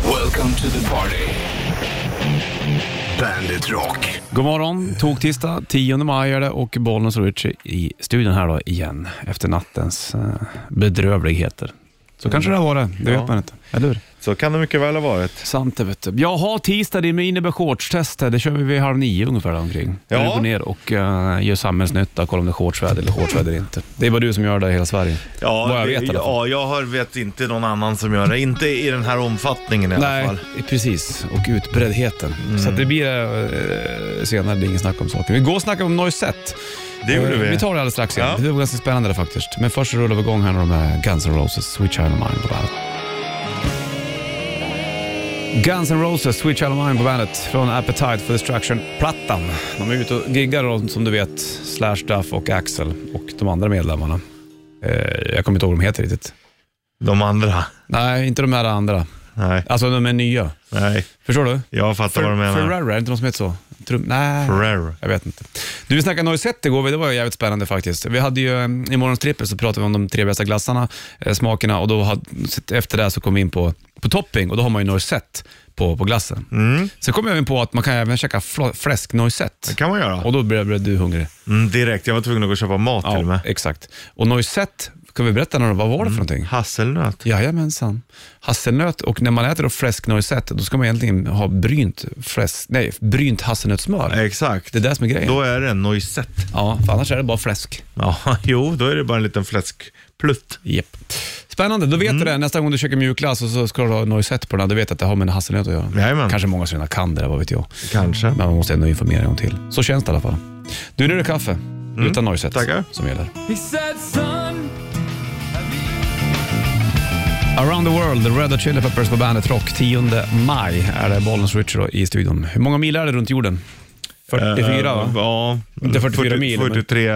Welcome to the party. Bandit Rock. God morgon, tog tisdag 10 maj är det och Bollnäs och Richie i studion här då igen efter nattens eh, bedrövligheter. Så kanske det var det, det Ja. vet man inte. Eller hur? Så kan det mycket väl ha varit. Sant det vet du. Jaha, tisdag det är med innebär-shortstest här. Det kör vi vid halv nio ungefär där omkring. Ja. Där vi går ner och eh, gör samhällsnytta, kollar om det är shortsväder eller shortsväder inte. Det är bara du som gör det i hela Sverige. Ja, Vad jag det- vet i alla fall. ja, jag har, vet inte någon annan som gör det. Inte i den här omfattningen i alla Nej, fall. precis. Och utbreddheten. Så att det blir eh, senare, det är ingen snack om saken. Igår snackade vi om Noisette. Det gjorde Eh, vi. Vi tar det alldeles strax igen. Ja. Det var ganska spännande det faktiskt. Men först rullar vi igång här nu med Guns N' Roses, Sweet Child of Mine på bandet. Guns N' Roses, Sweet Child of Mine på bandet från Appetite for Destruction-plattan. De är ute och giggar då, som du vet, Slash Duff och Axel och de andra medlemmarna. Eh, Jag kommer inte ihåg vad de heter riktigt. De andra. Nej, inte de här andra. Nej, Alltså de är nya. nej. Förstår du? Jag fattar vad du menar. Ferrara, är det inte någon som heter så? Trum Nej. Ferrero. Jag vet inte. Du, vi snackade Noisette igår, det var ju jävligt spännande faktiskt. Vi hade ju, eh, i morgonstrippet så pratade vi om de tre bästa glassarna, eh, smakerna och då hade, efter det här så kom vi in på, på topping och då har man ju Noisette på, på glassen. Mm. Sen kom jag in på att man kan även käka fl- fläsk Noisette Det kan man göra. och då blev, blev du hungrig. Mm, direkt. Jag var tvungen att gå och köpa mat till och med. Mm. exakt. Och Noisette, kan vi berätta något, vad var det för någonting? Hasselnöt. Jajamensan. Hasselnöt och när man äter då fläsk noisette, då ska man egentligen ha brynt, fläsk, nej, brynt hasselnötssmör. Exakt. Det är det som är grejen. Då är det en noisette. Ja, för annars är det bara fläsk. Ja, jo, då är det bara en liten fläskplutt. Yep. Spännande, då vet Mm. du det. Nästa gång du käkar mjukglass och så ska du ha noisette på den, här, då vet du att det har med en hasselnöt att göra. Jajamän. Kanske många som redan kan det där, vad vet jag. Kanske. Men man måste ändå informera en gång till. Så känns det i alla fall. Du, nu är det kaffe. Utan noisette Mm. Tackar. som gäller. Around the World, The Red Hot Chili Peppers på bandet Rock. 10 maj är det Bollens Richard då i studion. Hur många mil är det runt jorden? 44 Eh, va? Ja. Inte 44 40 mil, men- 43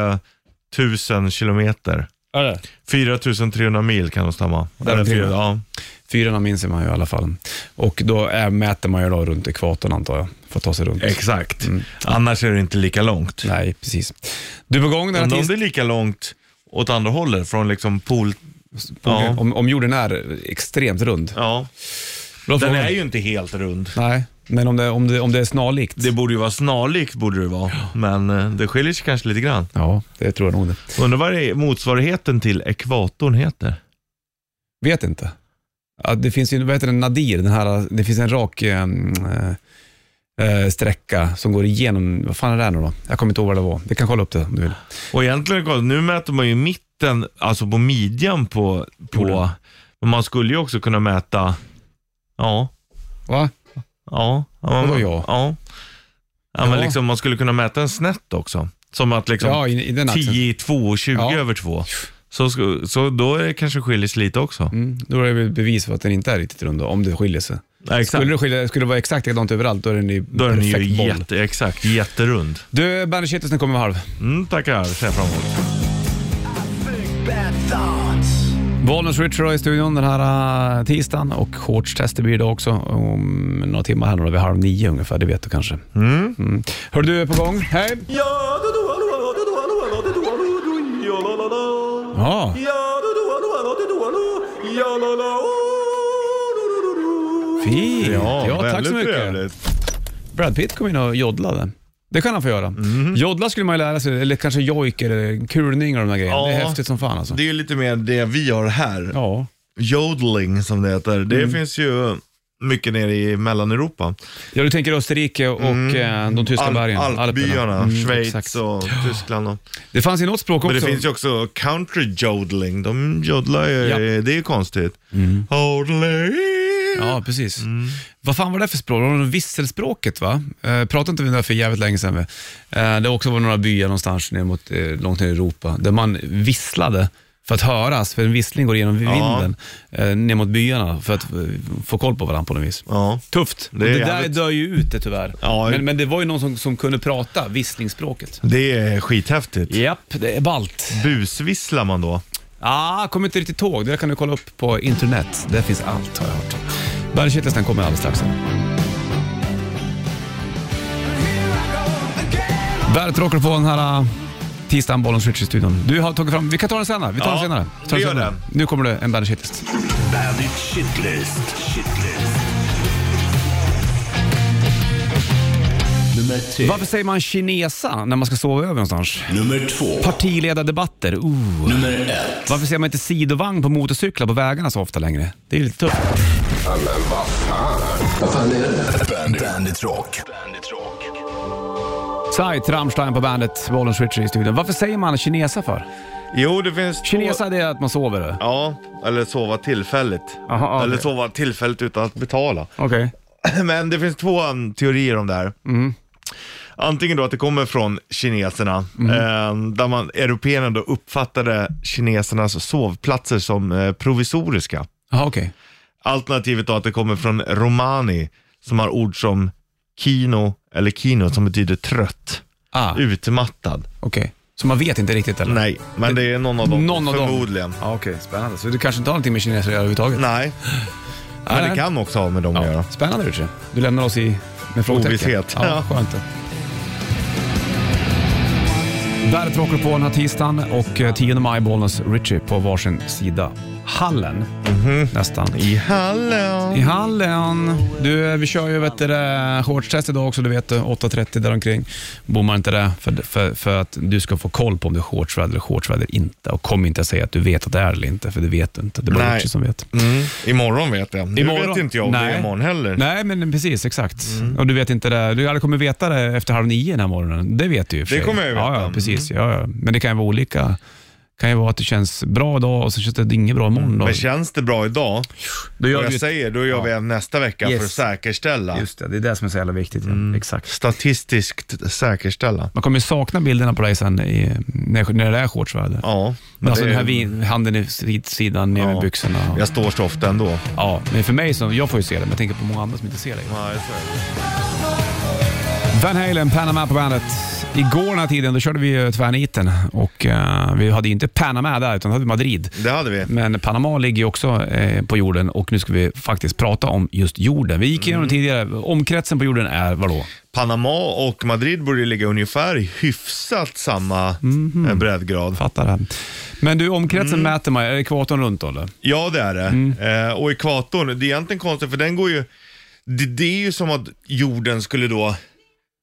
000 kilometer. Är det? 4 300 mil kan de stämma. Där Eller omkring. fyra- ja. Fyrorna minns man ju i alla fall. Och då är, mäter man ju då runt ekvatorn antar jag, för att ta sig runt. Exakt. Mm. Annars är det inte lika långt. Nej, precis. Du är på gång den här Undrar om det tisdagen. är lika långt åt andra hållet, från liksom pool... Ja. Om, om jorden är extremt rund. ja. Bra Den fråga. är ju inte helt rund. Nej, men om det, om det, om det är snarlikt. Det borde ju vara snarlikt, borde det vara. Men eh, det skiljer sig kanske lite grann. Ja, det tror jag nog det. Undrar vad det är motsvarigheten till ekvatorn heter? Vet inte. Ja, det finns ju, vad heter den, nadir, den här, det finns en rak ehm, eh, eh, sträcka som går igenom, vad fan är det här nu då? Jag kommer inte ihåg vad det var. Vi kan kolla upp det om du vill. Och egentligen, kolla, nu mäter man ju mitten, alltså på midjan på... på Jorden. men man skulle ju också kunna mäta... Ja. Va? Ja. Vadå man, ja? Ja. Ja, Ja. men liksom, man skulle kunna mäta en snett också. Som att liksom... Ja, i, i den axeln. 10 i 2 och 20 Ja. över 2. Så, ska- så då är det kanske skiljer sig lite också. Mm, då är det väl bevis för att den inte är riktigt rund då, om det skiljer sig. Ja, exakt. Skulle det, skilja, skulle det vara exakt likadant överallt, då är den ju Då är den ju perfekt boll. jätte, exakt, jätterund. Du, Bandy Kittelsen kommer vid halv. Mm, tackar, ser jag fram emot. Bollnäs Richard i studion den här äh, tisdagen och shortstester blir det också om några timmar här, då, vid halv nio ungefär, det vet du kanske. Mm. Hör du, är på gång. Hej! Ja, fint. Ja, tack väldigt så mycket. trevligt. Brad Pitt kom in och joddlade. Det kan han få göra. Mm. Joddla skulle man ju lära sig, eller kanske jojk eller kulning och de där grejerna. Ja. Det är häftigt som fan alltså. Det är ju lite mer det vi har här. Ja. Mm. Jodling som det heter. Det finns ju mycket nere i Mellaneuropa. ja, du tänker Österrike och eh, de tyska bergen. Alp- Mm. Alpbyarna, Mm, Schweiz exakt. och Tyskland. Och. Det fanns ju något språk också. Men det finns ju också country jodling. De jodlar ju, Ja. Mm. det är ju konstigt. Jodling. Ja, precis. Mm. Vad fan var det för språk? Det var något visselspråket va? Eh, pratade inte vi om det här för jävligt länge sedan? va? Eh, det också var några byar någonstans ner mot, eh, långt ner i Europa där man visslade för att höras, för en vissling går igenom vinden eh, ner mot byarna för att eh, få koll på varandra på något vis. Ja. Tufft. Det Det, är det där jävligt- dör ju ut det tyvärr. Ja. Men, men det var ju någon som, som kunde prata visslingsspråket. Det är skithäftigt. Japp, det är balt. Busvisslar man då? Ah, kommer inte riktigt ihåg. Det där kan du kolla upp på internet. Där finns allt har jag hört. Bandet kommer alldeles strax. Bandet rockar på den här äh, tisdagen, bollen switch i studion. Du har tagit fram, vi kan ta den senare. Vi tar Ja, den senare. Vi tar vi den gör senare. Nu kommer det en Bandet Bandit Shitlist. Shitlist. Nummer tre. Varför säger man kinesa när man ska sova över någonstans? Nummer två. Partiledardebatter, ooh. Nummer ett. Varför ser man inte sidovagn på motorcyklar på vägarna så ofta längre? Det är lite tufft. Vad fan är det? Bandit, Bandit Rock. Bandit Rock. Sight, Rammstein på bandet, Bollen Switcher i studion. Varför säger man kinesa för? Jo, det finns två- Kinesa det är att man sover. eller? Ja, eller sova tillfälligt. Aha, okej. Eller sova tillfälligt utan att betala. Okej. Men det finns två um, teorier om det här. Mm. Antingen då att det kommer från kineserna, Mm. eh, där man, européerna då uppfattade kinesernas sovplatser som eh, provisoriska. Jaha, okej. Alternativet då att det kommer från romani, som har ord som kino eller kino som betyder trött, Ah, okej. utmattad. Så man vet inte riktigt eller? Nej, men det är någon av dem Någon av dem? förmodligen. Ja, okej, spännande. Så du kanske inte har någonting med kineser att göra överhuvudtaget? Nej, men det kan också ha med dem att göra. Spännande Richie. Du lämnar oss i, med frågetecken. Ovisshet. Ja, Ja. skönt det. Bandet rockar på den här tisdagen och eh, 10 maj Bollnäs Richie på varsin sida. Hallen, Mhm. nästan. I Hallå! I hallen. Du, eh, vi kör ju vet du, det, shortstest idag också, du vet det, 8.30 däromkring. Bommar inte det för, för, för att du ska få koll på om det är shortsväder eller shortsväder inte. Och kom inte att säga att du vet att det är eller inte, för det vet du inte. Det är bara Nej. Richie som vet. Mm, imorgon vet jag. Nu Imorgon? vet inte jag om det Nej. är imorgon heller. Mm. Nej, men precis, exakt. Och du vet inte det. Du aldrig kommer veta det efter halv nio den här morgonen. Det vet du ju i och för Det sig. kommer jag ju ja, veta. Mm. ja, precis. Ja, ja. Men det kan ju vara olika. kan ju vara att det känns bra idag och så känns det inget bra imorgon. Då. Men känns det bra idag, Då och gör jag vi ju- säger då gör vi en nästa vecka Yes. för att säkerställa. Just det, det är det som är så jävla viktigt. ja. Mm. Exakt. Statistiskt säkerställa. Man kommer ju sakna bilderna på dig sen i, när, när det är shortsväder. Ja, men alltså det- den här vin, handen i sid- sidan, ner med Ja. byxorna. och- jag står så ofta ändå. Ja, men för mig, så, jag får ju se det, men jag tänker på många andra som inte ser det. Ja, jag tror det. Van Halen, Panama på bandet. Igår den här tiden då körde vi ju tvärniten och eh, vi hade ju inte Panama där utan vi hade Madrid. Det hade vi. Men Panama ligger ju också eh, på jorden och nu ska vi faktiskt prata om just jorden. Vi gick igenom Mm. det tidigare. Omkretsen på jorden är vadå? Panama och Madrid borde ju ligga ungefär i hyfsat samma eh, breddgrad. Fattar det. Men du, omkretsen Mm. mäter man, är det ekvatorn runt då eller? Ja, det är det. Eh, och ekvatorn, det är egentligen konstigt för den går ju... Det, det är ju som att jorden skulle då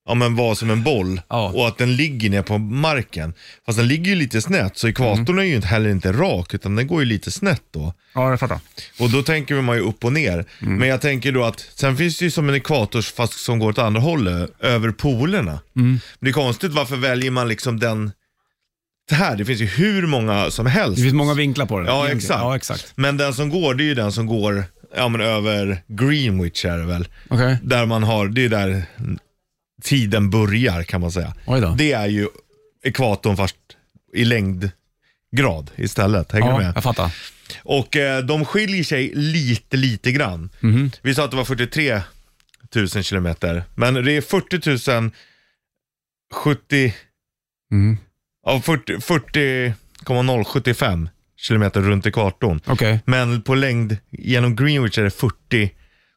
ja, men vara som en boll Ja. och att den ligger ner på marken. Fast den ligger ju lite snett, så ekvatorn är ju inte- heller inte rak utan den går ju lite snett då. Ja, jag fattar. Och då tänker man ju upp och ner. Mm. Men jag tänker då att sen finns det ju som en ekvator fast som går åt andra hållet, över polerna. Mm. Men det är konstigt, varför väljer man liksom den... Det här, det finns ju hur många som helst. Det finns många vinklar på det. Ja, egentligen. exakt. Ja, exakt. Men den som går, det är ju den som går ja, men över Greenwich är det väl. Okej. Där man har, det är där tiden börjar kan man säga. Oj då. Det är ju ekvatorn fast i längdgrad istället. Hänger du Ja, med? jag fattar. Och eh, de skiljer sig lite, lite grann. Mhm. Vi sa att det var 43 000 kilometer, men det är 40 000 70, Mm. ja, 40, 40,075 kilometer runt ekvatorn. Okej. Men på längd genom Greenwich är det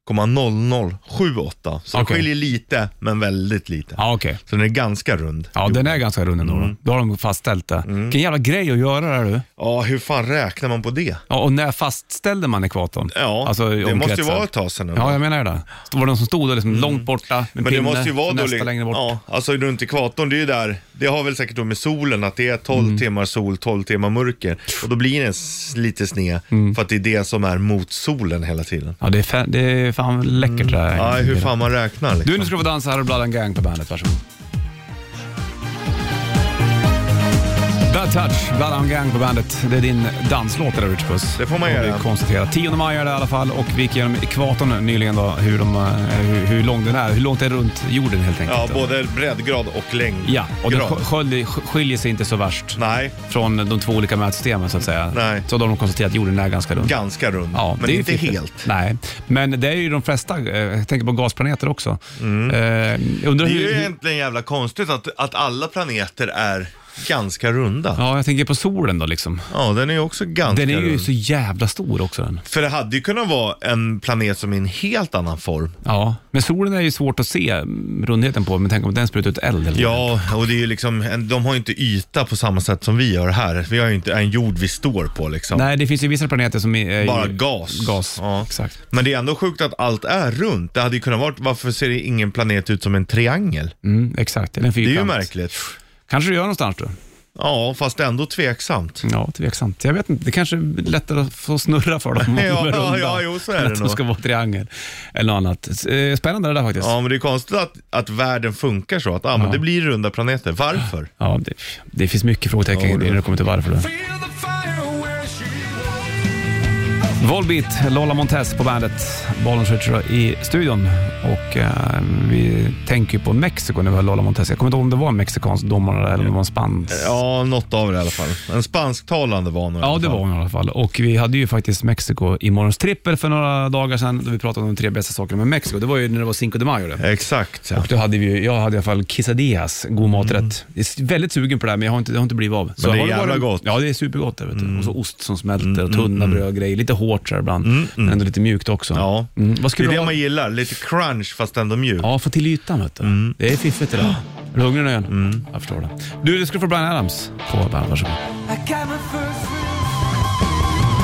40,0078. Så Okej. det skiljer lite, men väldigt lite. Ja, okej. Så den är ganska rund. Ja, den är ganska rund ändå. Mm. då. Då har de fastställt det. Vilken jävla grej att göra det här du. Ja, hur fan räknar man på det? Ja, och när fastställde man ekvatorn? Ja, Alltså, det omkretsen. måste ju vara ett tag sedan. ändå. Ja, jag menar ju det. Det var de som stod där liksom långt borta med men det pinne måste ju vara och då, nästa li- längre bort. Ja, alltså runt ekvatorn, det är ju där, det har väl säkert då med solen att det är 12 Mm. timmar sol, 12 timmar mörker. Och då blir den s- lite sned, Mm. för att det är det som är mot solen hela tiden. Ja, det är, fan, det är fan läckert det Ja, här. hur fan man räknar liksom. Du, nu ska du få dansa här och Blood and Gang på bandet. Varsågod. Bad Touch, Blood and Gang på bandet. Det är din danslåt det där Rich Puss. Det får man Har göra. vi konstaterat. 10 maj är det i alla fall och vi gick igenom ekvatorn nyligen då, hur, de, eh, hur, hur lång den är. Hur långt det är runt jorden helt enkelt. Ja, både breddgrad och längdgrad. Ja, och den skölj- skiljer sig inte så värst Nej, från de två olika mätsystemen så att säga. Nej. Så då har de konstaterat att jorden är ganska rund. ganska rund, Ja, men det är ju inte fiffigt. helt. Nej, men det är ju de flesta. eh, Jag tänker på gasplaneter också. Eh, jag undrar Mm. Det är hur, ju hur, egentligen jävla konstigt att, att alla planeter är ganska runda. Ja, jag tänker på solen då liksom. Ja, den är också ganska Den är ju rund. så jävla stor också den. För det hade ju kunnat vara en planet som är i en helt annan form. Ja, men solen är ju svårt att se rundheten på, men tänk om den sprutar ut eld eller Ja, och det är ju liksom, en, de har ju inte yta på samma sätt som vi gör här. Vi har ju inte en jord vi står på liksom. Nej, det finns ju vissa planeter som är... är Bara ju- gas. Gas, Ja. exakt. Men det är ändå sjukt att allt är runt. Det hade ju kunnat vara, varför ser det ingen planet ut som en triangel? Mm, exakt, eller en Det är fyrkant. ju märkligt. Kanske du gör någonstans då? Ja, fast ändå tveksamt. Ja, tveksamt. Jag vet inte, det kanske är lättare att få snurra för dem om de är Ja, ja, runda. ja, jo, så är än det att de nog. ska vara triangel eller något annat. Eh, Spännande det där faktiskt. Ja, men det är konstigt att, att världen funkar så. Att ah, men det blir runda planeter. Varför? Ja, det, det finns mycket frågetecken Ja, det- när det kommer till varför. Då. Volbeat, Lola Montez på bandet. Bollen Switcher i studion. Och eh, vi tänker ju på Mexiko när vi har Lola Montez. Jag kommer inte ihåg om det var en mexikansk domare där eller om det var en spansk. Ja, något av det i alla fall. En spansktalande var nog i Ja, alla det fall. var hon i alla fall. Och vi hade ju faktiskt Mexiko i morgons trippel för några dagar sedan då vi pratade om de tre bästa sakerna med Mexiko. Det var ju när det var Cinco de Mayo det. Exakt. Ja. Mm. Och då hade vi, ju- jag hade i alla fall quesadillas, god maträtt. Jag är väldigt sugen på det här men jag har inte, det har inte blivit av. Men det är har jävla varit- gott. Mm. Ja, det är supergott. Där, vet du. Och så ost som smälter och tunna brödgrejer. Lite hårt så här ibland, men ändå lite mjukt också. mm. Ja. Mm. Vad Det skulle är det det vara? man gillar. Lite crunch fast ändå mjuk. Ja, få till ytan vet du. Det är fiffigt det där. Är du hungrig nu igen? Jag förstår det. Du, du ska få Brian Adams på bandet. Varsågod.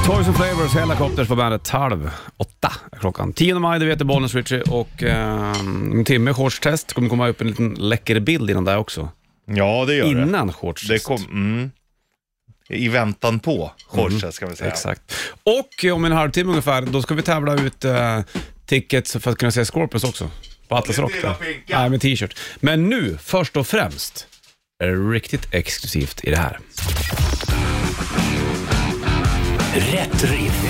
Toys and Flavors, Helicopters på bandet. Halv åtta är klockan. 10 maj, det vet du, Bollnäs Ritchie. Och eh, en timme shortstest. kommer komma upp en liten läcker bild innan det också. Ja, det gör det. Innan shortstest. Det kom... Mm. I väntan på shortsen ska vi säga. Exakt. Och eh, om en halvtimme ungefär, då ska vi tävla ut eh, tickets för att kunna se Scorpions också. På Atlas Rock. Lycka där. till, Pinka. Nej, med t-shirt. Men nu, först och främst, är det riktigt exklusivt i det här. Rätt riff.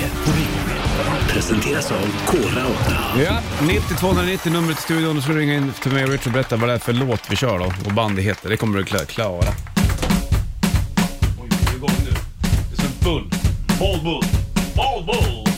Presenteras av Kora 8. Ja, 90-290 numret till studion. Då ska du ringa in till mig och Richard och berätta vad det är för låt vi kör då och bandet heter. Det kommer du kla- klara. Oj, vi är igång nu. Det är som en bull. Ball bull. Ball bull.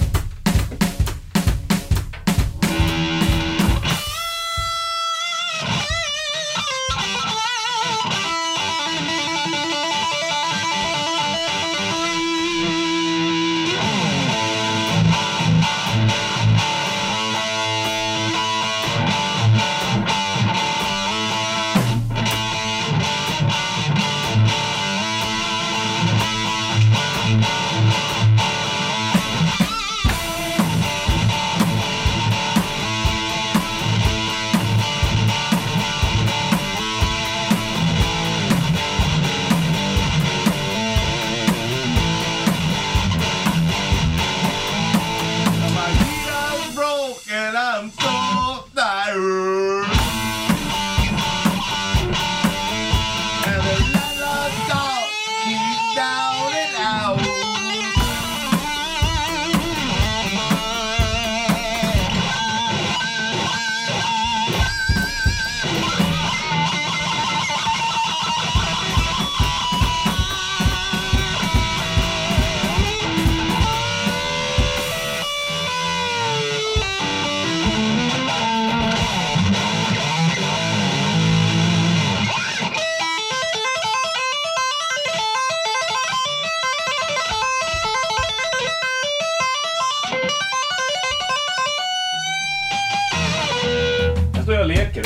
Här står jag och leker.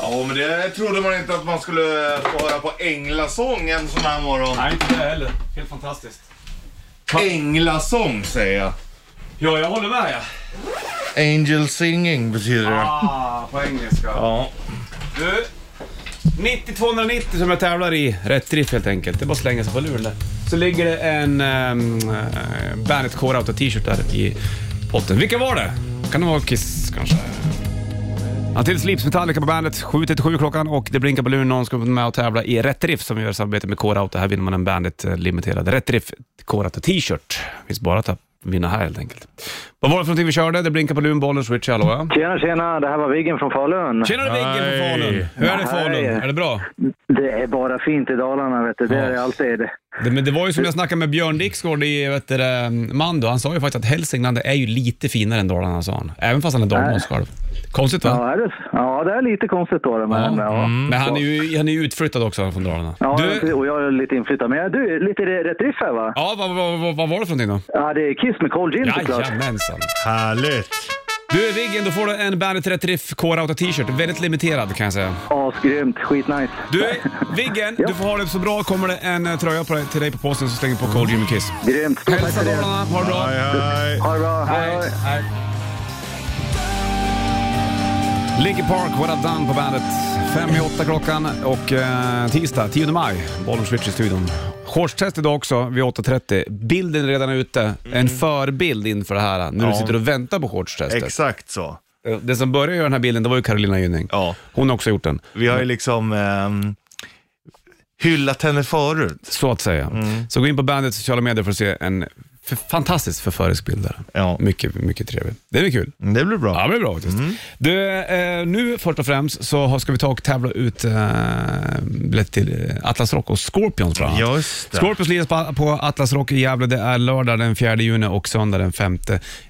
Ja, men det trodde man inte att man skulle få höra på änglasång en sån här morgon. Nej, inte det heller. Helt fantastiskt. Änglasång säger jag. Ja, jag håller med ja. Angel singing betyder det. Ah, på engelska. Ja. Du, 90-290 som jag tävlar i. Rätt riff helt enkelt. Det är bara att slänga sig på luren där. Så ligger det en um, Bandet Core Auto t-shirt där i potten. Vilka var det? Kan det vara Kiss kanske? Antilles Lips Metallica på bandet, 7.37 klockan och det blinkar på luren. Någon ska vara med och tävla i Rätt Riff som vi gör i samarbete med Core Auto. Här vinner man en Bandet eh, limiterad Rätt Riff Core Auto t-shirt. Finns bara att vinna här helt enkelt. Vad var det för någonting vi körde? Det blinkar på luren, bollen, switch, hallå ja. Tjena, tjena. Det här var Viggen från Falun. Tjena Viggen från Hej. Falun! Hur är det i Falun? Hej. Är det bra? Det är bara fint i Dalarna, vet du. Det är Ja. det alltid. Det, men det var ju som jag snackade med Björn Dixgård i vet du, det, Mando. Han sa ju faktiskt att Hälsingland är ju lite finare än Dalarna, sa han. Även fast han är dalmas själv. Konstigt va? Ja, är det, ja, det är lite konstigt då det, men ja. Men han är ju han är ju utflyttad också från Dalarna. Mm. Ja, Mm. du, och jag är lite inflyttad. Men du, lite rätt riff här va? ja vad, vad, vad, vad var det för någonting då? Ja, det är Kiss med Cold Gin såklart. Jajamensan. Härligt. Du Viggen, då får du en Bandet Rätt Riff K-Rauta t-shirt. Väldigt limiterad kan jag säga. Asgrymt, skitnice. Du Viggen, du får ha det så bra. Kommer det en eh, tröja på dig, till dig på posten så slänger på Cold Jimmy Kiss. Grymt, stort tack Hälsa för det. Dalarna, ha det bra. Hej, hej. Ha det bra, hej. Hej. Hej. Linkin Park, What I've Done på bandet. Fem i åtta klockan och eh, tisdag 10 maj. Bollen switch i studion. Shortstest idag också vid 8.30. Bilden är redan ute. En förbild inför det här när du Mm. Ja. sitter och väntar på shortstestet. Eh, Exakt så. Det som började göra den här bilden, det var ju Carolina Gynning. Ja. Hon har också gjort den, Vi har ju liksom ehm, hyllat henne förut. så att säga. Mm. Så gå in på bandets sociala medier för att se en f- fantastisk förförisk bild där. Ja. Mycket, mycket trevlig. Det blir kul. Mm, Det blir bra. Mm. Ja, det är bra faktiskt. Du, eh, nu först och främst så har- ska vi ta och tävla ut eh, biljett till eh, Atlas Rock och Scorpions bland annat. Just det. Scorpions liras på, på Atlas Rock i Gävle. Det är lördag den 4 juni och söndag den 5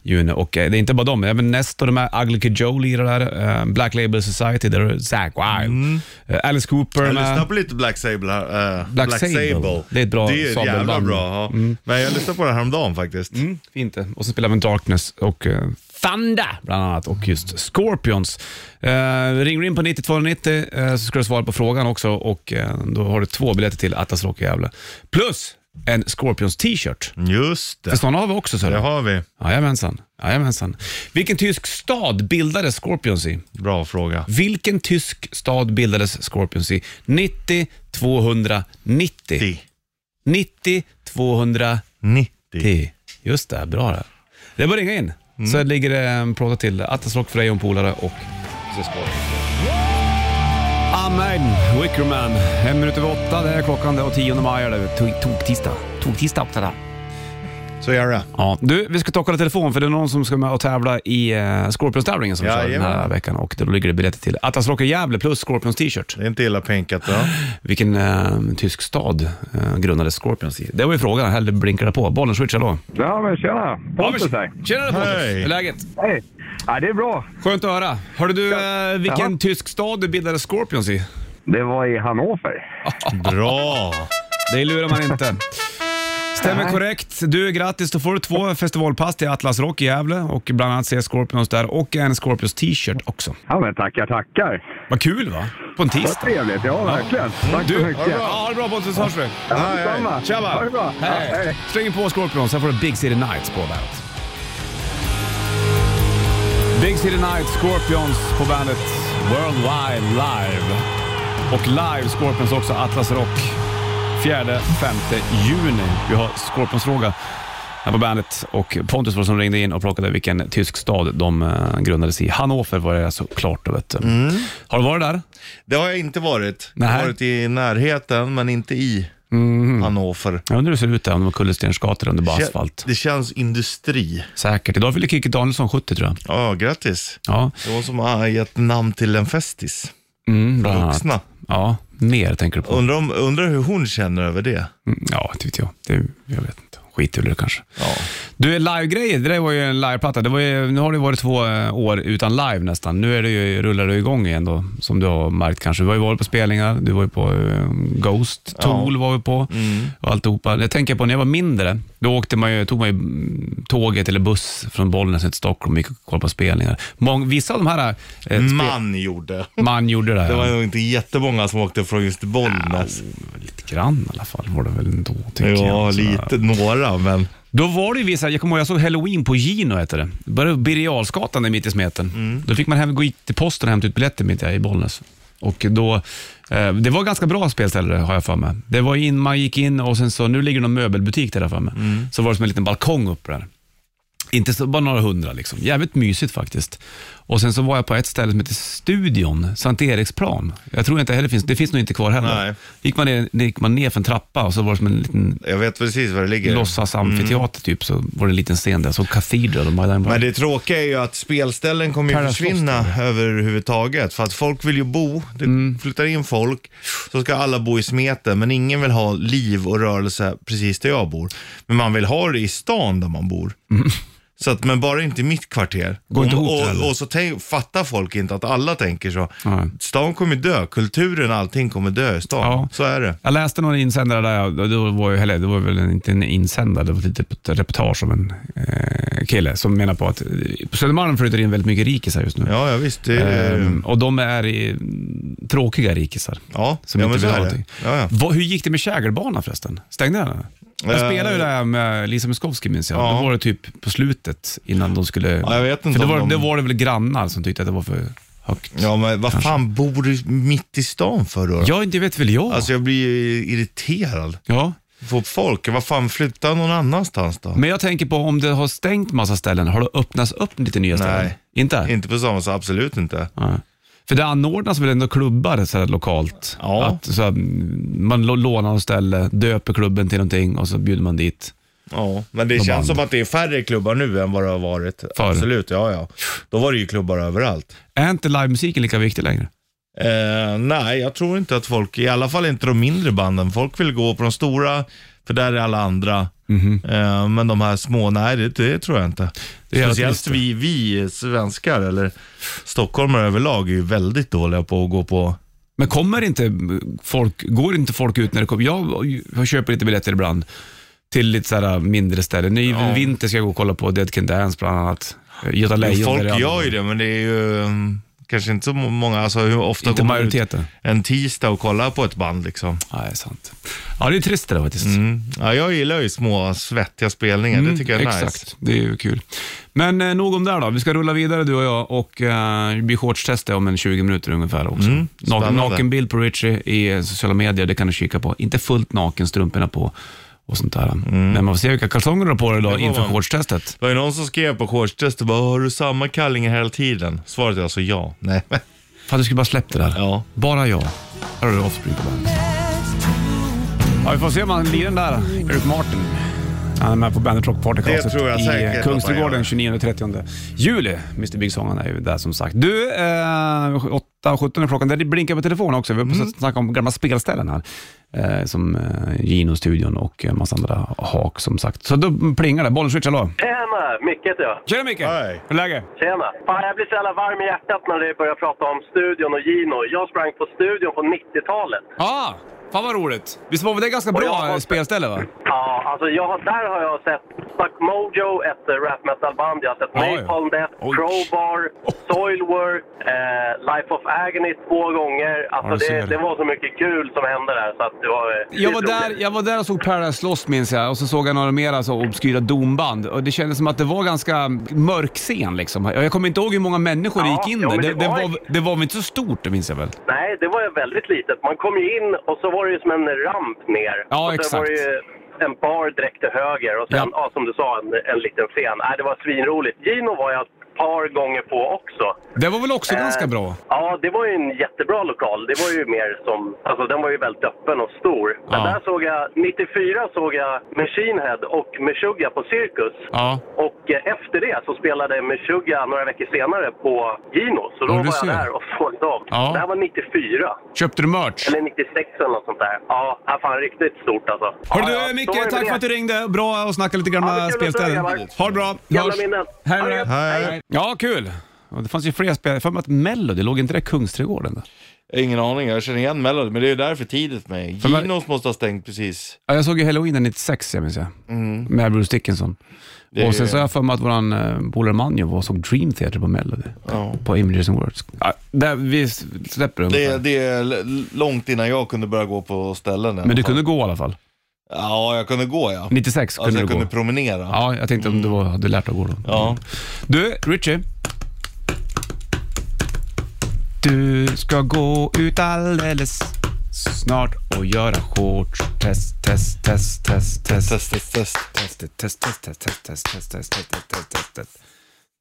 juni. Och eh, det är inte bara dem, även Nestor, de här Ugly Kid Joe lirar där. Eh, Black Label Society, där är Zack Wild. Mm. Eh, Alice Cooper Jag med- lyssnar på lite Black Sable här. eh, Black Sable. Det är ett bra Det är ett jävla sabelband. bra. Mm. Ja. Men jag lyssnade på det här om dagen faktiskt. Mm, fint det. Och så spelar vi Darkness och eh, Thunder bland annat och just Scorpions. Eh, ringer du in på 9290 eh, så ska du svara på frågan också och eh, då har du två biljetter till Atlas Rock i Gävle. Plus en Scorpions t-shirt. Just För det. sådana har vi också. Så Det har vi. Jajamensan. Jajamensan. Vilken tysk stad bildades Scorpions i? Bra fråga. Vilken tysk stad bildades Scorpions i? 90, 290. 90, 290. 90. Just det, bra det. Det är bara att ringa in. Så ligger det en plåta till. Atlas Rock för dig och en polare och Amaiden, Wickerman. En minut över åtta, det är klockan. Det är 10 maj. är det. Tog- Tog-tisdag. Tog-tisdag på det där. Så gör det. Ja, du, vi ska ta och kolla telefon för det är någon som ska med och tävla i eh, Scorpions-tävlingen som vi kör den Jajamän. här veckan. Och då ligger det biljetter till Atlas Rock i Gävle plus Scorpions t-shirt. Det är inte illa pinkat. Va? Vilken eh, tysk stad eh, grundades Scorpions i? Det var ju frågan. Hellre blinkar det på. Bollen switchar då. Ja, men tjena! Pontus här. Tjena Pontus! Hej. Hur är läget? Hej! Ja, det är bra. Skönt att höra. Hörde du eh, vilken Jaha. tysk stad du bildade Scorpions i? Det var i Hannover. Bra. Det lurar man inte. Stämmer korrekt. Du, grattis. Då får du två festivalpass till Atlas Rock i Gävle och bland annat se Scorpions där och en Scorpions t-shirt också. Ja, men tackar, tackar. Vad kul va? På en Vad tisdag. trevligt. Ja, verkligen. Tack Du, så ha det bra. Ja, mycket. ha det bra Pontus, hörs vi. Hej, hej. Detsamma. Tja Ha det bra. va. Hej. Ja, hej. Släng in på Scorpions, sen får du Big City Nights på bandet. Big City Nights, Scorpions på bandet Worldwide Live. Och live Scorpions också, Atlas Rock. 4-5 juni. Vi har Scorpions-fråga här på bandet. Och Pontus var det som ringde in och plockade vilken tysk stad de eh, grundades i. Hannover var det såklart. då, Vet du. Mm. Har du varit där? Det har jag inte varit. Jag Nej. har varit i närheten, men inte i Mm. Hannover. Jag undrar hur det ser ut där, om de har kullerstensgator under bara Kä- asfalt. Det känns industri. Säkert. Idag fyller Kikki Danielsson 70 tror jag. Ja, grattis. Ja, Det var som har gett namn till en festis. mm, bland annat. Vuxna. Ja, mer tänker du på. Undrar, om, undrar hur hon känner över det. Mm, Ja, det vet jag. Det, jag vet inte. Skit i det kanske. Ja. Du, live-grejer, det där var ju en liveplatta. Det var ju, nu har det varit två eh, år utan live nästan. Nu är det ju, rullar det igång igen då, som du har märkt kanske. Du har ju varit på spelningar, du var ju på eh, Ghost, Tool var vi på Mm. och alltihopa. Jag tänker på när jag var mindre, då åkte man ju, tog man ju mm, tåget eller buss från Bollnäs till Stockholm och gick och kollade på spelningar. Mång, vissa av de här... Eh, spe- Man gjorde. man gjorde det. Här, Det ja. var nog inte jättemånga som åkte från just Bollnäs. lite grann i alla fall var det väl ändå, Ja, tänker jag. Sådär. lite. Några, men. Då var det ju vissa, jag kommer ihåg, jag såg Halloween på Gino, heter det. Det började Birger Jarlsgatan där mitt i smeten. Då fick man hem, gå till posten och hämta ut biljetter mitt i Bollnäs. Och då, eh, det var ganska bra spelställe har jag för mig. Det var in, man gick in och sen så, nu ligger det någon möbelbutik där jag har för mig. Så var det som en liten balkong upp där. Inte så, bara några hundra liksom. Jävligt mysigt faktiskt. Och sen så var jag på ett ställe som heter Studion, Sankt Eriksplan. Jag tror inte heller finns, det finns nog inte kvar heller. Nej. Gick man ner, gick man ner för en trappa och så var det som en liten Jag vet precis var det ligger. låtsasamfiteater typ, så var det en liten scen där. Så Cathedral och My Dying Men Bride. det tråkiga är ju att spelställen kommer ju Paradise försvinna Lost, överhuvudtaget. För att folk vill ju bo, det Mm. flyttar in folk, så ska alla bo i smeten. Men ingen vill ha liv och rörelse precis där jag bor. Men man vill ha det i stan där man bor. Så att, men bara inte i mitt kvarter. Går Mm. inte ihop det och, heller. och, och så tänk, fattar folk inte att alla tänker så. Nej. Stan kommer dö, kulturen och allting kommer dö i stan. Ja. Så är det. Jag läste någon insändare där, jag- då var ju, eller det var väl inte en insändare, det var ett litet reportage om en eh, kille som menar på att eh, på Södermalm flyttar in väldigt mycket rikisar just nu. Ja, ja visst. Det, Ehm, och de är i, mm, tråkiga rikisar. ja, Som ja, inte men så vill ha är det. någonting. Ja, ja. Vad- hur gick det med Kägelbanan förresten? Stängde den? Jag Eh. spelade ju det här med Lisa Miskovsky minns jag. Ja. Då var det typ på slutet innan de skulle... Ja, jag vet inte för det var, om de- det var det väl grannar som tyckte att det var för högt. Ja, men vad fan bor du mitt i stan för då? Ja, inte vet väl jag. Alltså jag blir ju irriterad ja. på folk. Vad fan, flytta någon annanstans då. Men jag tänker på om det har stängt massa ställen, har det öppnats upp lite nya ställen? Nej. Inte? Inte på samma sätt, absolut inte. Nej. För det anordnas väl ändå klubbar så här lokalt? Ja. Att, så här, man lo- lånar något ställe, döper klubben till någonting och så bjuder man dit. Ja, men det De känns andra. som att det är färre klubbar nu än vad det har varit. Förr. Absolut, ja ja. Då var det ju klubbar överallt. Är inte livemusiken lika viktig längre? Eh, nej, jag tror inte att folk, i alla fall inte de mindre banden, folk vill gå på de stora, för där är alla andra. Eh, men de här små, nej det, det tror jag inte. Det är jävla Speciellt trist. vi, vi svenskar, eller stockholmare överlag, är ju väldigt dåliga på att gå på Men kommer inte folk, går inte folk ut när det kommer? Jag, jag köper lite biljetter ibland till lite så här äh, mindre ställen. Nu i vinter ska jag gå och kolla på Dead Can Dance bland annat. Göta Lejon. Jo, folk där i alla gör fall. ju det, men det är ju um, kanske inte så må- många. Alltså, hur ofta Inte går man majoriteten. ut en tisdag och kollar på ett band liksom? Nej, sant. Ja, det är trist det där faktiskt. Mm. Ja, jag gillar ju små svettiga spelningar. det tycker jag är Mm, Exakt, nice. det är ju kul. Men eh, nog om det här då. Vi ska rulla vidare du och jag och eh, det blir shortstester om en 20 minuter ungefär också. naken, Mm, spännande. naken bild på Richie i eh, sociala medier, det kan du kika på. Inte fullt naken, strumporna på och sånt där. Men man får se vilka kalsonger du har på dig idag Mm. får inför man. shortstestet. Det var ju någon som skrev på shortstestet bara, har du samma kallingar hela tiden? Svaret är alltså ja. Nej. Fan, du skulle bara släppt det där. Ja. Bara jag. Här har du Offspring på bandet. Ja, vi får se om han lirar den där, Eric Martin. Han är med på Bandet Rock Party Concert tror jag säkert i att eh, han Kungsträdgården gör. 29-30 juli. Mr Big Song han är ju där som sagt. Du, eh, 8.17 är klockan. Där Det blinkar på telefonen också. Vi har Mm. precis snackat om gamla spelställen här. Eh, som eh, Gino-studion och en massa andra hak som sagt. Så då plingar det. Bollenswitch, hallå? Tjena! Micke heter jag. Tjena Micke! Hej. Hur är läget? Tjena! Fan, jag blir så jävla varm i hjärtat när du börjar prata om studion och Gino. Jag sprang på studion på 90-talet. Ah, fan vad roligt. Visst var väl det ganska jag bra har- eh, spelställe va? Ja, alltså jag, har- där har jag sett Stuck Mojo, ett eh, rap metal-band. Jag har sett Ja, ja. Napalm Death, Oj. Oh. Crowbar, Soilwork, eh, Life of Agony två gånger. Ja, du Alltså ser. det, det var så mycket kul som hände där så att det var... eh, Jag var, skitroligt. där, jag var där och såg Paradise Lost minns jag och så såg jag några mer alltså, obskyra domband och det kändes som att det var ganska mörk scen liksom. Jag jag kommer inte ihåg hur många människor det Ja, gick in jo, där. men Det, det det, var- var, det var väl inte så stort, det minns jag väl? Nej, det var ju väldigt litet. Man kom ju in och så var det ju som en ramp ner. Ja, och sen exakt. var det ju en bar direkt till höger och sen, Ja. ja. som du sa, en, en liten scen. Nej, det var svinroligt. Gino var jag ett par gånger på också. Det var väl också ganska Eh, bra? Ja, det var ju en jättebra lokal. Det var ju mer som... Alltså, den var ju väldigt öppen och stor. Men Ja. där såg jag... 94 såg jag Machine Head och Meshuggah på Cirkus. Ja. Och eh, efter det så spelade Meshuggah några veckor senare på Gino. Så då Ja, du var jag ser. där och såg dem. Ja. Det här var 94. Köpte du merch? Eller 96 eller något sånt där. Ja, ja, fan riktigt stort alltså. Hörru ja, du Micke, tack för att du ringde. Bra att snacka lite Ja, gamla men kul att spelställen. höra, grabbar. Ha det bra. Gamla Hörs. minnen. Hej Ha det då. gött. Hej. Ja, kul. Och det fanns ju flera spel. Jag har för mig att Melody, låg inte det i Kungsträdgården? Där? Ingen aning, jag känner igen Melody, men det är ju därför tidigt med. men- Ginos måste ha stängt precis. Ja, jag såg ju Halloween 96, jag minns jag. Med Bruce Dickinson. Mm. Det- Och sen så har jag för mig att våran eh, polare Manjo var och såg Dream Theater på Melody. På Images and Words. Ja, där vi släpper det, Det, ungefär. det är l- långt innan jag kunde börja gå på ställen. i alla Men du fall. kunde gå i alla fall. Ja, jag kunde gå ja. 96 kunde Alltså jag du kunde gå. promenera. Ja, jag tänkte om du var, hade lärt dig att gå då. Ja. Du, Richie. Du ska gå ut alldeles snart och göra shortstest, test, test, test, test. Test, test, test. Test, test, test, test, test, test, test, test, test, test, test, test.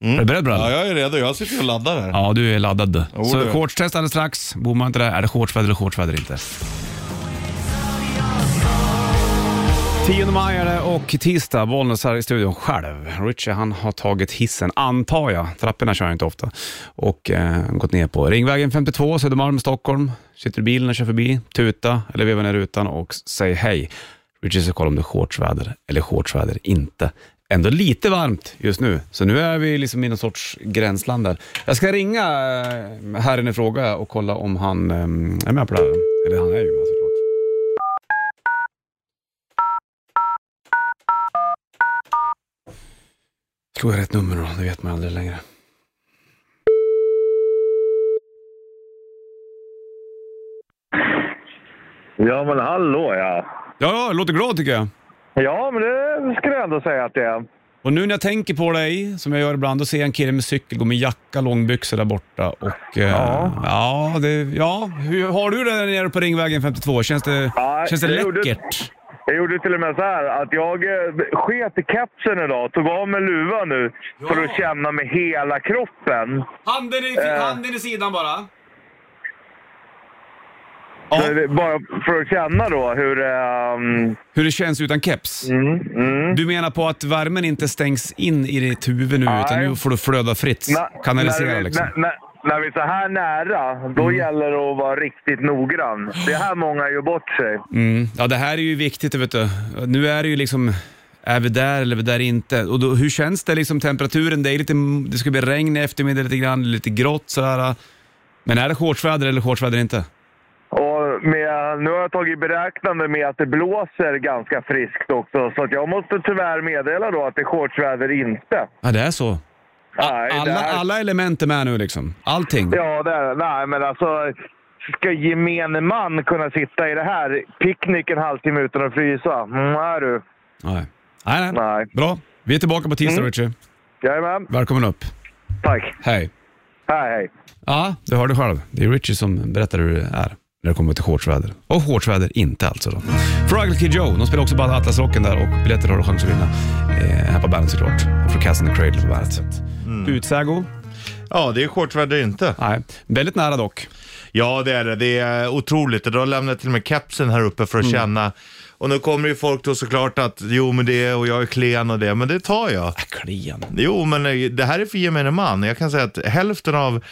Är du beredd Brad? Mm. Ja, jag är redo. Jag sitter och laddar här. Ja, du är laddad. Jo, så du. shortstest alldeles strax. Bor man inte där, är det shortsväder eller shortsväder inte? 10 maj är det och tisdag, Bollnäs här i studion själv. Richie han har tagit hissen, antar jag. Trapporna kör jag inte ofta. Och eh, gått ner på Ringvägen 52, Södermalm, Stockholm. Sitter i bilen och kör förbi, tuta eller vevar ner rutan och s- säg hej. Richie ska kolla om det är shortsväder eller shortsväder inte. Ändå lite varmt just nu, så nu är vi liksom i någon sorts gränsland där. Jag ska ringa eh, herren i fråga och kolla om han eh, är med på det här. Eller han är ju med såklart. Slog jag rätt nummer då? Det vet man aldrig längre. Ja, men hallå ja. Ja, ja, låter glad tycker jag. Ja, men det skulle jag ändå säga att det är. Och nu när jag tänker på dig, som jag gör ibland, då ser jag en kille med cykel gå med jacka, långbyxor där borta. Och, eh, ja. Ja, det, ja, hur har du det där nere på Ringvägen 52? Känns det, Ja, känns det jag gjorde- läckert? Jag gjorde till och med så här att jag eh, sket i kepsen idag, tog av mig luvan nu för att känna med hela kroppen. Handen i, Eh. handen i sidan bara. För, det- bara för att känna då hur... ehm, Hur det känns utan keps? mm, mm. Du menar på att värmen inte stängs in i ditt huvud nu, utan Nej. nu får du flöda fritt? När- Kanalisera när, vi- liksom? Mm. När, när, när vi är så här nära, då gäller det att vara riktigt noggrann. Det är här många gör bort sig. Mm. Ja, det här är ju viktigt. Vet du. Nu är det ju liksom, är vi där eller är vi där inte? Och då, hur känns det liksom temperaturen? Det, är lite, det ska bli regn i eftermiddag lite grann, lite grått sådär. Men är det shortsväder eller shortsväder inte? Och med, nu har jag tagit i beräknande med att det blåser ganska friskt också. Så att jag måste tyvärr meddela då att det är shortsväder inte. Ja, det är så. Nej, det Alla, är- alla element är med nu liksom. Allting. Ja, det är, nej, men alltså... Ska gemene man kunna sitta i det här? Picknick en halvtimme utan att frysa? Mm, nej du. Nej. Nej, nej. Nej. Mm. Bra. Vi är tillbaka på tisdag, Richie. Jajamän. Välkommen upp. Tack. Hej. Hej, hej. Ja, du hörde själv. Det är Richie som berättar hur det är när det kommer till shortsväder. Och shortsväder inte alltså då. Fraggle Kid Joe, de spelar också bandet Atlasrocken där och biljetter har du chans att vinna. Eh, här på bandet såklart. Och från Cast and the Cradle på bandet. Mm. Utsägo? Ja, det är shortsväder inte. Nej, väldigt nära dock. Ja, det är det. Det är otroligt. Du har lämnat till och med kepsen här uppe för att känna. Och nu kommer ju folk då såklart att, jo men det, och jag är klen och det, men det tar jag. Kliande. Jo, men eh, det här är för gemene man. Jag kan säga att hälften av,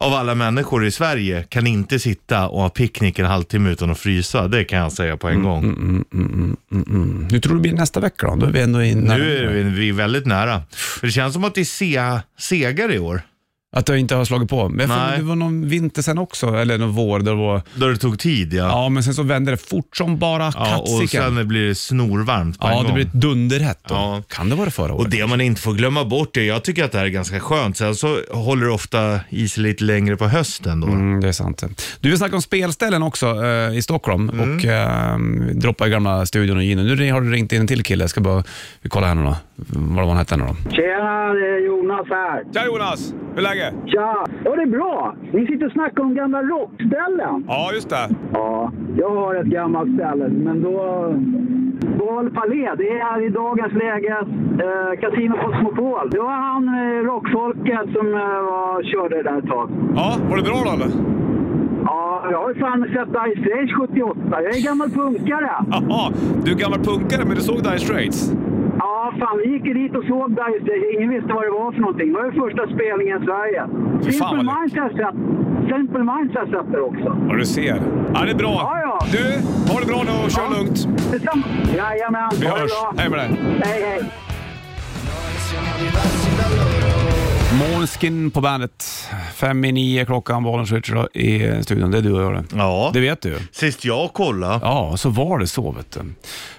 av alla människor i Sverige kan inte sitta och ha picknick en halvtimme utan att frysa. Det kan jag säga på en gång. Mm. Hur tror du det blir nästa vecka då? Då är vi ändå i Nu är vi, vi är väldigt nära. För det känns som att det är se, segare i år. Att jag inte har slagit på. Men jag får- Nej. det var någon vinter sen också, eller någon vår. Där det var... Då det tog tid, ja. Ja, men sen så vände det fort som bara Ja, och kattsiken. sen blir det snorvarmt på Ja, en det gång. blir dunderhett då. Ja. Kan det vara det förra året? Och det man inte får glömma bort, är, jag tycker att det här är ganska skönt. Sen så håller det ofta i sig lite längre på hösten då. Mm, det är sant. Du vill snacka om spelställen också eh, i Stockholm och eh, droppa i gamla studion och ginen. Nu har du ringt in en till kille. Jag ska bara vi kollar här nu då. Vad var han hette nu då? Tjena, det är Jonas här. Tja Jonas! Hur läget? Tja! Ja, det är bra. Ni sitter och snackar om gamla rockställen. Ja, just det. Ja, jag har ett gammalt ställe, men då... Val Palais, det är i dagens läge eh, Casino Cosmopol. Det var han eh, rockfolket som eh, var, körde det där ett tag. Ja, var det bra då eller? Ja, jag har ju fan sett Ice Age 78. Jag är gammal punkare. Jaha, du är gammal punkare men du såg Dire Straits? Ja, fan, vi gick ju dit och såg Dire Straits. Ingen visste vad det var för någonting. Det var ju första spelningen i Sverige. Fy fan, Simple vad Minds har jag sett. Simple Minds har jag sett där också. Ja, du ser. Ja, det är bra. Ja, ja. Du, ha det bra nu och kör lugnt. Detsamma. Jajamän. Vi Ha det hörs. bra. Hej med dig. Hej, hej. Måneskin på bandet. Fem i nio klockan, Bollens Richard i studion. Det är du och jag det. Ja. Det vet du Sist jag kollade, Ja, så var det så vet du.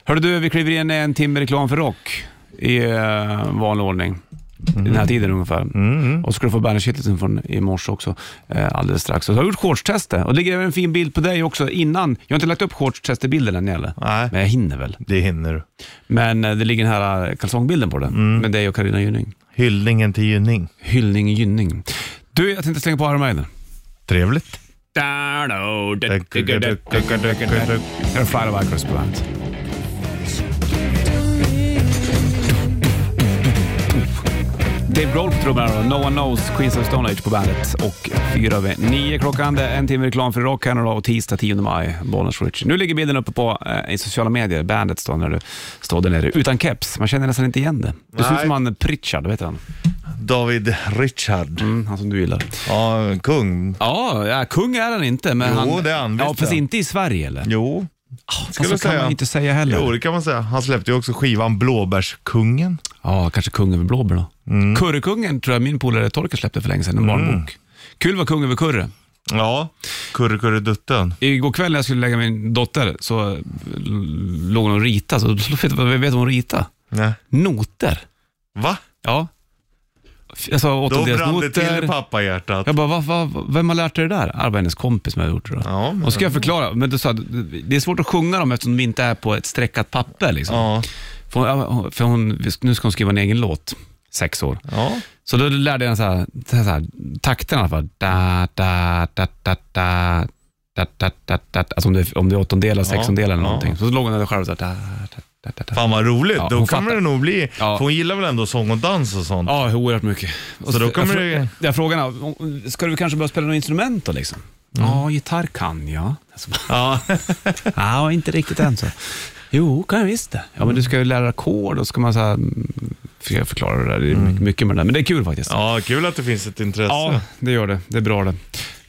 Hörru du, vi kliver in i en timme reklam för rock i eh, vanlig ordning. I Den här tiden ungefär. Och så ska du få bandagetiteln från i morse också eh, alldeles strax. Och så har jag gjort shortstestet och det ligger även en fin bild på dig också innan. Jag har inte lagt upp shortstestbilden än heller. Nej. Men jag hinner väl. det hinner du. Men eh, det ligger den här eh, kalsongbilden på det. Med dig och Carina Gynning. Hyllningen till Gynning. Hyllning Gynning. Du, jag tänkte slänga på Iron Maiden. Trevligt. Här är Flight of Icarus på bandet. Dave Grohl på trummor här då. No One Knows, Queens of Stone Age på bandet. Och fyra över nio klockan. Det är en timme reklam för rock här nu då och tisdag 10 maj, Bollnäs Rich. Nu ligger bilden uppe på eh, i sociala medier, bandet står när du står där nere utan keps. Man känner nästan inte igen det. Du ser ut Nej. som han Pritchard, vet du han? David Richard. Mm, han som du gillar. Ja, kung. Ja, ja, kung är han inte. Men Jo, han, det är han, Ja, visst fast är han. inte i Sverige eller? Jo, Skulle så Alltså, kan man inte säga heller. Jo, det kan man säga. Han släppte ju också skivan Blåbärskungen. Ja, kanske Kung över blåbär då. Mm. Kurrekungen tror jag min polare Torkel släppte för länge sedan, en barnbok. Kul var Kung över kurre. Ja, Kurre Kurre Dutten. Igår kväll när jag skulle lägga min dotter så eh, l- låg hon och ritade. Så så vet du vet du vad hon ritade? Nej. Noter. Va? Ja. F- Jag sa Då brann det åttondelsnoter. till i pappahjärtat. Jag bara, va, va, va, vem har lärt dig det där? Ah, Det var hennes kompis som hade gjort det. Då. Ja, men- Och ska jag förklara, men då sa jag, det är svårt att sjunga dem eftersom de inte är på ett streckat papper. Liksom. Ja. För, hon- ja, hon- för hon, nu ska hon skriva en egen låt, sex år. Ja. Så då lärde jag henne så här, så här, så här takten i alla fall. Da, da, da, da, da. Da, da, da, da. Alltså om det, är- om det är åttondelar, sextondelar eller ja. någonting. Så låg hon där själv så här, da, da, da, da, da. Fan vad roligt. Ja, Då hon kan fattar. det nog bli. Ja. För hon gillar väl ändå sång och dans och sånt? Ja, oerhört mycket. Och Så då kommer jag, frå- det- jag frågade henne, ska du kanske börja spela något instrument då liksom? Ja, gitarr kan jag. Alltså, Mm. Ja. ja, inte riktigt än så. Jo, kan jag visst det. Ja, men du ska ju lära ackord och ska man så här, mm, ska jag förklara det där. Det är mycket- mycket med det där, men det är kul faktiskt. Mm. ja, kul att det finns ett intresse. Ja, det gör det. Det är bra det.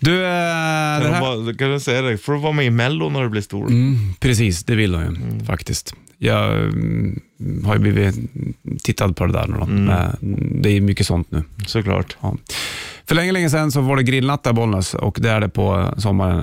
Du, eh, Alltså. Kan, den du här... bara, kan du säga det? Får du vara med i Mello när du blir stor? Mm, precis, det vill de ju Mm. faktiskt. Jag mm, har ju blivit tittad på det där nu då. Men Det är mycket sånt nu. Mm. Såklart. Ja. För länge, länge sedan så var det grillnatt där i Bollnäs och det är det på eh, sommaren.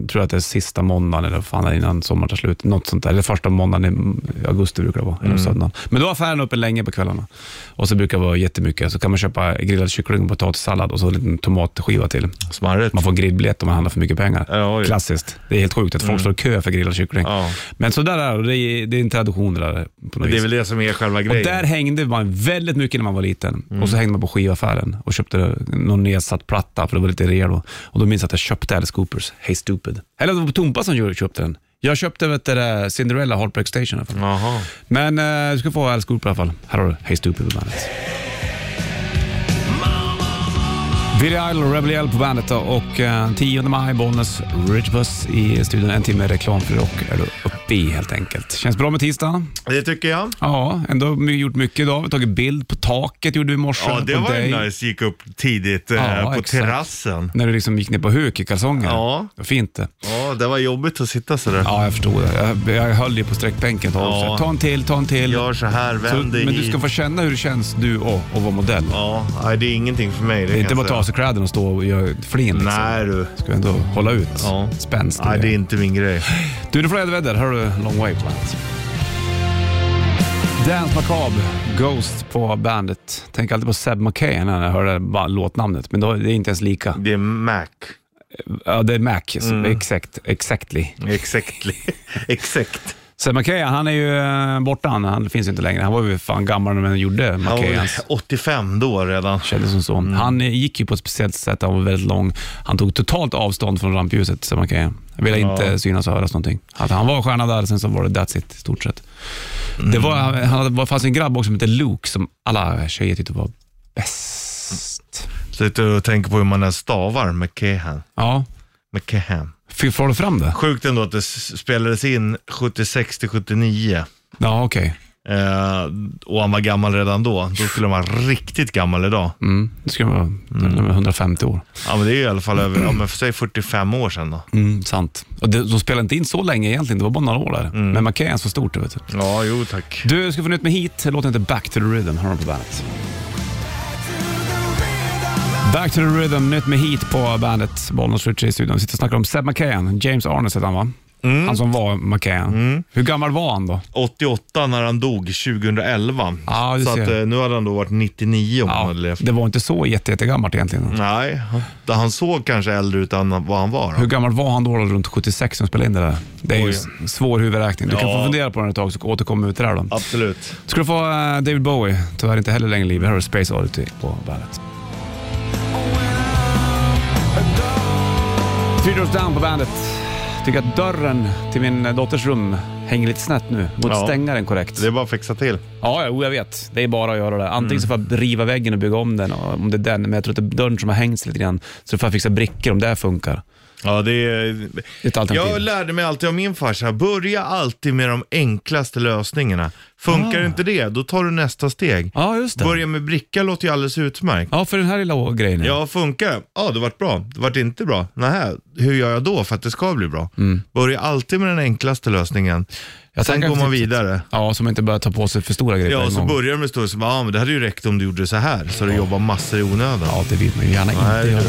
Jag tror att det är sista måndagen eller vad fan är det innan sommaren tar slut. Något sånt där. Eller första måndagen i augusti brukar det vara. Mm. Eller söndagen. Men då är affären öppen länge på kvällarna. Och så brukar det vara jättemycket. Så kan man köpa grillad kyckling och potatissallad och så en liten tomatskiva till. Smarrigt. Man får grillbiljett om man handlar för mycket pengar. Ja, oj. Mm. Klassiskt. Det är helt sjukt att folk står i kö för grillad kyckling. Ja. Men så där är det. Det är, det är en tradition det där på något Det är vis. väl det som är själva Och grejen. där hängde man väldigt mycket när man var liten. Mm. Och så hängde man på skivaffären och köpte någon nedsatt platta, för det var lite rea då. Och då minns jag att jag köpte Alice Coopers Hey Stupid. Eller det var Tompa som gjorde- köpte den. Jag köpte vet du, det, Cinderella Heartbreak Station i alla fall. Jaha. Men eh, du ska få Alice Cooper i alla fall. Här har du Hey Stupid på bandet. Billy Idol och Rebel Yell på bandet då, och eh, 10 maj, Bollnäs, Ridgebuss i studion. En timme reklam för rock är du uppe i helt enkelt. Känns bra med tisdagen? Det tycker jag. Ja, ändå my- gjort mycket idag. Vi har tagit bild på taket gjorde vi i morse. Ja, det på var dig. ju nice. Gick upp tidigt eh, Ja, på exakt. terrassen. När du liksom gick ner på huk i kalsonger. Ja. Det var fint det. Ja, det var jobbigt att sitta sådär. Ja, jag förstod det. Jag, jag höll dig på sträckbänken ett tag. Ja. Så här, Ta en till, ta en till. Gör så här, Så- vänd dig men hit. du ska få känna hur det känns du och, och vara modell. Ja, nej, det är ingenting för mig. Det, Det är kan inte jag bara att ta säga. av sig kläderna och stå och göra flin. Liksom. Nej du. Ska ändå hålla ut Ja. spänst. Nej, det är inte min grej. Du, det får väder. Hör du Long Way på bandet. Dance Macabre, Ghost på bandet. Tänker alltid på Seb McKay när jag hör det här ba- låtnamnet, men då- det är inte ens lika. Det är Mac. Ja, det är Mac, så- Mm. exakt, exactly. Exactly. Exakt. Seb McKay, han är ju eh, borta, han, han finns ju inte längre. Han var ju fan gammal när man gjorde Han var McKay. väl hans- 85 då redan. Kändes som så. Han eh, gick ju på ett speciellt sätt, han var väldigt lång. Han tog totalt avstånd från rampljuset, så man kan ju- Han ville inte synas och höras någonting. Att han var stjärna där, sen så var det that's it i stort sett. Det var, han hade, var- fanns en grabb också som hette Luke, som alla tjejer tyckte var bäst. Sitter och tänker på hur man ens stavar McCahan. Ja, McCahan. fick får du fram det? Sjukt ändå att det s- spelades in 76 till 79. Ja, okej. Eh, och han var gammal redan då. Då skulle han vara riktigt gammal idag. Mm. Det skulle vara de är 150 år. Ja, men det är ju i alla fall över, ja, men för sig 45 år sedan då. Mm, sant. Och det, de spelade inte in så länge egentligen, det var bara några år där. Men man kan så stort, vet du. Ja, jo tack. Du ska få nytt med hit. Låten heter Back to the Rhythm. Hör på bandet. Back to the Rhythm, nytt med hit på bandet. Bollnäs Ritchie i studion. Vi Sitter och snackar om Seb McCann. James Arnes hette han va? Mm. Han som var McCann. Hur gammal var han då? 88 när han dog 2011. Ja, du så ser. att, eh, nu hade han då varit 99 om han hade levt. det var inte så jätte, jättegammalt egentligen. Nej, han såg kanske äldre ut än vad han var. Hur gammal var han då, då runt 76 som spelade in det där? Det är ju Oj. s- svår huvudräkning. Du kan Ja. få fundera på den ett tag så återkommer vi till det här då. Absolut. Ska du få eh, David Bowie, tyvärr inte heller längre i livet. Här har du Space Oddity på bandet. Three Doors Down på bandet. Tycker att dörren till min eh, dotters rum hänger lite snett nu. Mot Ja. stängaren korrekt. Det Mm. är bara att fixa till. Ja, ja, jo, jag vet. Det är bara att göra det. Antingen så får jag riva väggen och bygga om den, och- om det är den. Men jag tror att det är dörren som har hängts lite grann. Så får jag fixa brickor om det här funkar. Ja, det är... Ett alternativ. Jag lärde mig alltid av min farsa, börja alltid med de enklaste lösningarna. Funkar Ah. inte det, då tar du nästa steg. Ja, just det. Ah, Börja med bricka låter ju alldeles utmärkt. Ja, för den här lilla grejen. Ja, funkar det? Ja, det vart bra. Det vart inte bra? Nähä, hur gör jag då för att det ska bli bra? Börja alltid med den enklaste lösningen. Mm. Jag Sen tackar går för man tipset. vidare. Ja, som inte börjar ta på sig för stora grejer på Ja, typ en och så gång. börjar de med stor som ja men det hade ju räckt om du gjorde så här, så du jobbar massor i onödan. Ja, det vill man ju gärna Nej, inte det göra. gör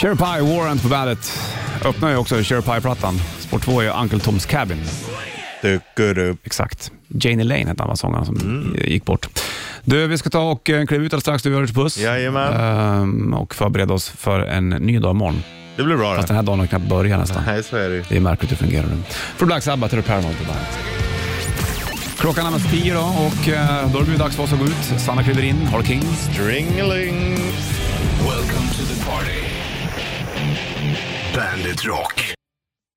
Cherry Pie Warrant på bandet. Öppnar ju också Cherry Pie-plattan. Spår 2 är Uncle Tom's Cabin. Dyker upp. Exakt. Janie Lane hette han var sångaren som Mm. gick bort. Du, vi ska ta och eh, kliva ut alldeles strax. Du, Örits Puss. Jajamän. Ehm, och förbereda oss för en ny dag imorgon. Det blir bra Fast det. den här dagen har knappt börjat nästan. Nej, så är det ju. Det är märkligt hur det fungerar nu. För Black Sabbath är det Paramount på bandet. Klockan närmar sig tio då och eh, då är det ju dags för oss att gå ut. Sanna kliver in, har Kings. Stringeling. Welcome to the party. Bandit Rock.